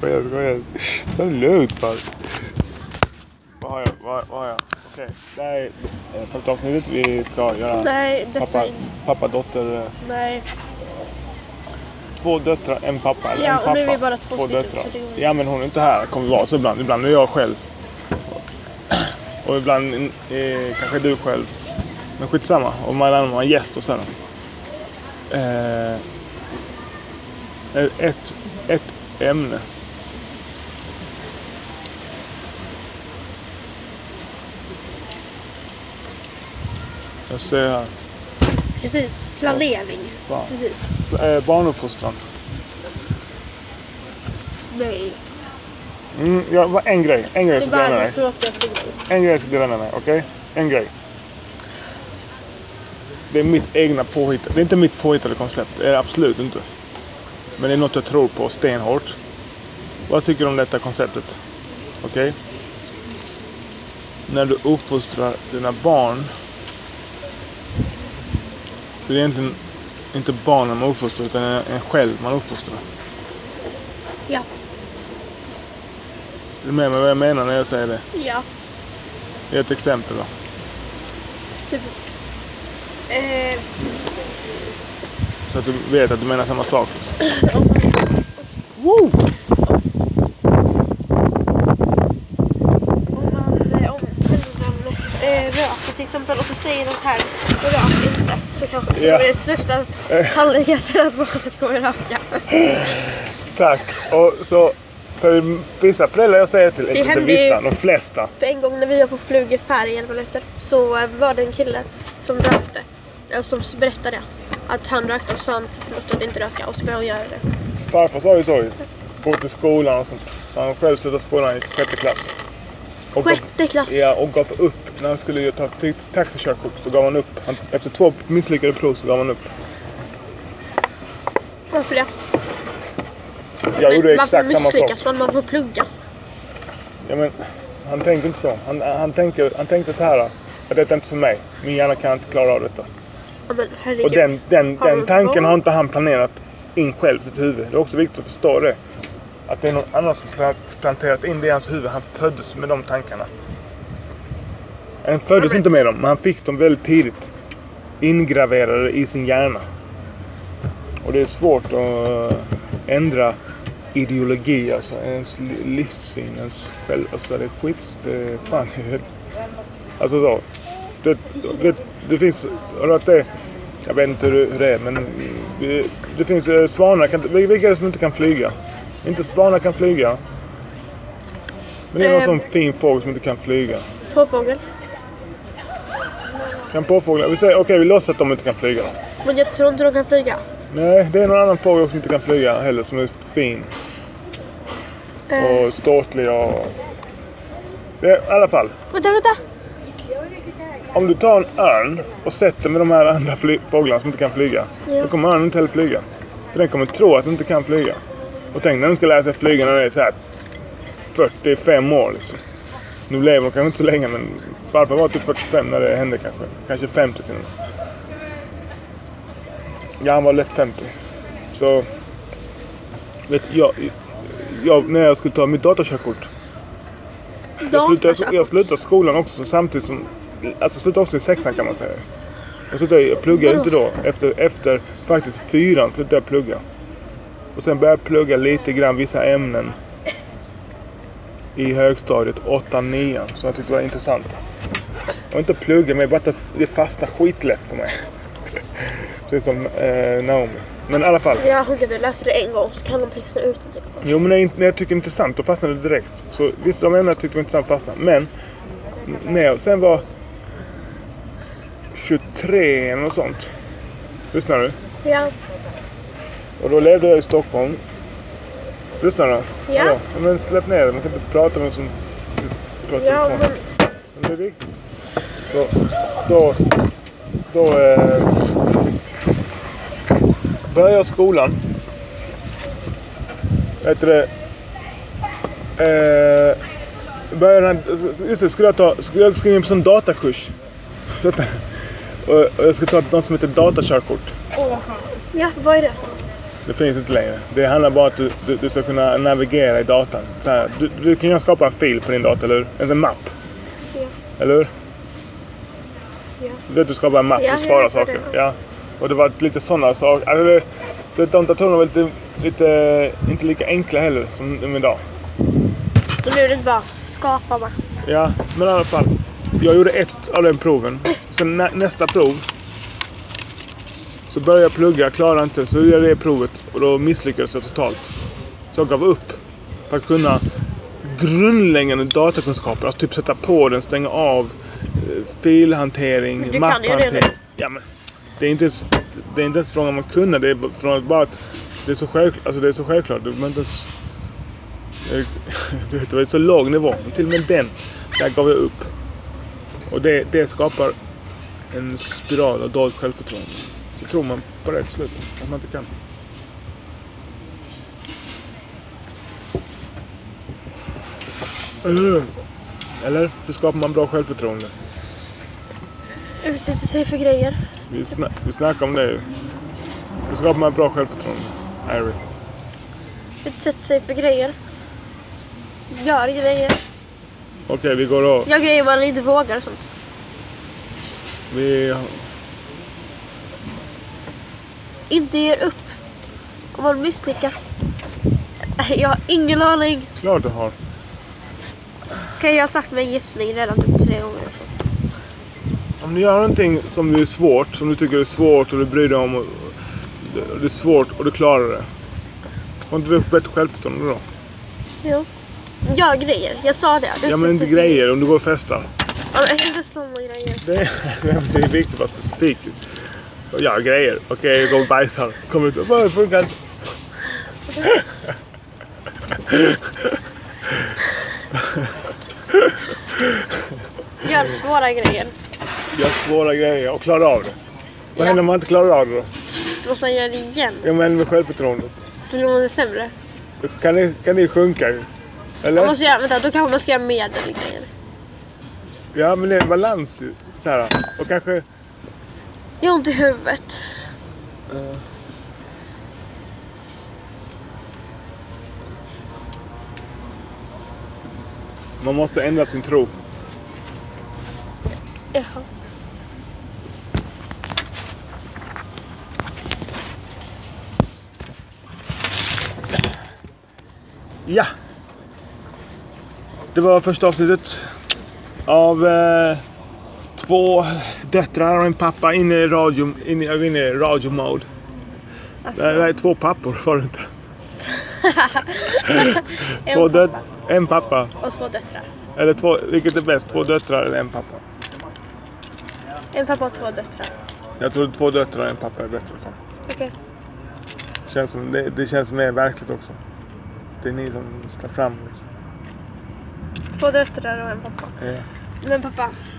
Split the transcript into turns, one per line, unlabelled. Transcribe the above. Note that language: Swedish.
Kom igen, kom igen. Ta det lugnt bara. Vad har jag? Vad, vad har jag? Okej, det här är eh, femte avsnittet vi ska göra.
Nej, detta
Pappa,
inte.
pappa, dotter. eh,
Nej.
Två döttrar, en pappa. Eller
Ja,
en
och
pappa.
nu är vi bara två stycken,
döttrar.
så det går inte.
Ja, men hon är inte här. Kommer vara så ibland. Ibland är jag själv. Och ibland eh, kanske du själv. Men skitsamma. Och man annan har en gäst och sådär. Eh, ett, ett ämne. Jag ser här.
Precis. Planering.
Fan.
Precis.
Eh, barnuppfostran.
Nej.
Mm, ja, va- en grej. En grej
Det är
ska jag med
bara
dig.
en tråkig grej.
En grej till dela med mig, okej? En grej. Det är mitt egna påhitt. Det är inte mitt påhittade koncept. Det är det absolut inte. Men det är något jag tror på stenhårt. Vad tycker du om detta konceptet? Okej? När du uppfostrar dina barn. Så det är egentligen inte barnen man uppfostrar utan en själv man uppfostrar.
Ja.
Är du med mig vad jag menar när jag säger det?
Ja.
Ge ett exempel då.
Typ. Eh,
Så att du vet att du menar samma sak.
om man,
Woo!
om man eh, om föräldrar eh, röker till exempel och så säger de så här. Rök inte. Så kanske så
Ja.
är det största
Eh.
sannolikheten att barnet kommer röka.
Tack. Och så för vissa föräldrar jag säger till, inte
händer
vissa,
ju-
de flesta.
För en gång när vi var på flugefär i 11 minuter så eh, var det en kille som rökte. Eh, Och som berättade att han rökte och sa han till sin dotter att inte röka och så började hon göra det.
Farfar sa ju så ju. Gå till skolan och sånt. Så han själv slutade skolan i sjätte klass. Och gav,
Sjätte klass!
ja, och gav upp. När han skulle ju ta t- taxikörkort så gav han upp. Han, efter två misslyckade prov så gav han upp.
Varför det?
Jag gjorde exakt samma sak.
misslyckas man? Man får plugga.
Ja, men, han tänkte inte så. Han, han, tänkte, han tänkte så här. Att detta är inte för mig. Min hjärna kan inte klara av detta.
Ja men herregud.
Och den, den,
Har
den
du
tanken
val?
har inte han planerat in själv i sitt huvud. Det är också viktigt att förstå det. Att det är någon annan som pla- planterat in det i hans huvud. Han föddes med de tankarna. Han föddes
men-
inte med dem, men han fick dem väldigt tidigt. Ingraverade i sin hjärna. Och det är svårt att eh, ändra ideologi, alltså ens li- livssyn, ens själv... Alltså det är skits... Det är fan... Alltså så. Det, det, det finns... Har du hört det? Jag vet inte hur det- hur det är, men eh, det finns eh, svanar. Kan, inte- vilka är det som inte kan flyga? Inte svanar kan flyga. Men det är någon
Eh.
sån fin fågel som inte kan flyga.
Tåfågel.
Kan påfåglar... Vi säger, okej, vi låtsas att de inte kan flyga.
Men jag tror inte de kan flyga.
Nej, det är någon annan fågel som inte kan flyga heller, som är fin.
Eh,
Och ståtlig och... Det, I alla fall.
Vänta, vänta!
Om du tar en örn och sätter med de här andra fly- fåglarna som inte kan flyga.
Ja.
Då kommer örnen inte heller flyga. För den kommer tro att den inte kan flyga. Och tänk när den ska lära sig flyga när den är så här 45 år liksom. Nu lever hon kanske inte så länge men farfar var typ 45 när det hände kanske. Kanske 50 till och med. Ja, han var lätt 50. Så... Vet, jag, jag, när jag skulle ta mitt datorkörkort jag slutade, jag slutade skolan också samtidigt som... Alltså jag slutade också i sexan kan man säga. Jag, slutade, jag pluggade inte då. Efter, efter faktiskt fyran slutade jag plugga. Och sen började jag plugga lite grann vissa ämnen. I högstadiet, 8 nian som jag tyckte var intressant. Och inte plugga men bara att det- det fastnade skitlätt på mig. Precis som eh, Naomi. Men i alla fall.
Jag hugger du läser det en gång så kan de texta ut det.
Jo men när jag, när jag tycker det är intressant då fastnar det direkt. Så vissa av ämnena jag tyckte var intressant fastnade. Men n- när jag sen var 23 eller något sånt. Lyssnar du?
Ja.
Och då levde jag i Stockholm. Lyssnar du?
Ja.
Hallå? Men släpp ner det. Man kan inte prata med någon som pratar i
Ja,
telefon.
men
Men det är viktigt. Så, då... Då... Eh, började jag skolan. Vad heter det? Eh, började den här, just det, skulle jag ta... Skulle jag skriva in på sån datakurs. Vänta. Och och jag ska ta något som heter datakörkort.
ja, vad är det?
Det finns inte längre. Det handlar bara om att du, du, du ska kunna navigera i datan. Så här, du, du kan ju skapa en fil på din dator, eller hur? En, en mapp,
Ja.
eller hur?
Ja.
Du vet, du skapar en mapp
Ja,
och
jag
sparar
vet vad det
saker.
är.
Ja. Och det var lite sådana saker. Alltså, det- det, de datorerna var lite, lite, inte lika enkla heller som de är idag.
Och nu är det bara skapa bara.
Ja, men i alla fall. Jag gjorde ett av den proven. Sen nä, nästa prov. Så började jag plugga, klarade inte. Så gjorde jag det provet och då misslyckades jag totalt. Så jag gav upp. För att kunna grundläggande datakunskaper. Alltså typ sätta på den, stänga av. eh, Filhantering,
Men du kan ju
mapphantering.
det nu.
Ja, men det är inte ens, det är inte ens frågan om att kunna. Det är b- frågan bara att det är så självklart. Alltså det är så självklart. Du behöver inte ens Eh, Du vet, det var ju så låg nivå. Men Till och med den, där gav jag upp. Och det, det skapar en spiral av dåligt självförtroende. Så tror man på det till slut, att man inte kan. Eh, Eller? Hur skapar man bra självförtroende?
Utsätter sig för grejer.
Vi, sna- vi snackar om det ju. Hur skapar man bra självförtroende? Harry.
Utsätter sig för grejer. Gör grejer.
Okej, vi går och...
Gör grejer man inte vågar och sånt.
Vi...
Inte ger upp. Om man misslyckas. Jag har ingen aning.
Klart du har.
Kan jag ha sagt mig en gissning redan typ tre gånger? och så.
Om du gör någonting som är svårt, som du tycker är svårt och du bryr dig om och och det är svårt och du klarar det. Har inte du bättre självförtroende då?
Jo. Gör grejer. Jag sa det.
Ja
Utsätter
men inte
sig för
grejer, om du går och festar.
Ja, men inte sådana grejer.
Det är, det är viktigt att vara specifik. Ja, grejer. Okej, jag går och bajsar. Kommer ut och bara, det funkar inte.
Gör svåra grejer.
Gör svåra grejer och klarar av det. Vad
Ja.
händer om man inte klarar av det då?
Då måste man göra det igen.
Ja, men med självförtroendet.
Då blir man sämre.
Då Kan det, kan det sjunka ju. Eller?
Man måste göra, vänta, då kanske man ska göra medelgrejer.
Ja, men det är en balans ju. Så här. Och kanske...
Jag har ont i huvudet.
Eh. Man måste ändra sin tro.
Jaha.
Ja! Det var första avsnittet av eh, två döttrar och en pappa inne i radio, inne, jag var inne i radiomode.
Alltså.
Det här det här är två pappor, var det inte?
En
Två död,
pappa
en pappa.
och två döttrar.
Eller två, vilket är bäst? Två döttrar eller en pappa?
En pappa och två döttrar.
Jag tror två döttrar och en pappa är bättre. Fan.
Okej.
Känns som, det, det känns mer verkligt också. Det är ni som ska fram liksom.
Två döttrar och en pappa.
Ja.
Men pappa,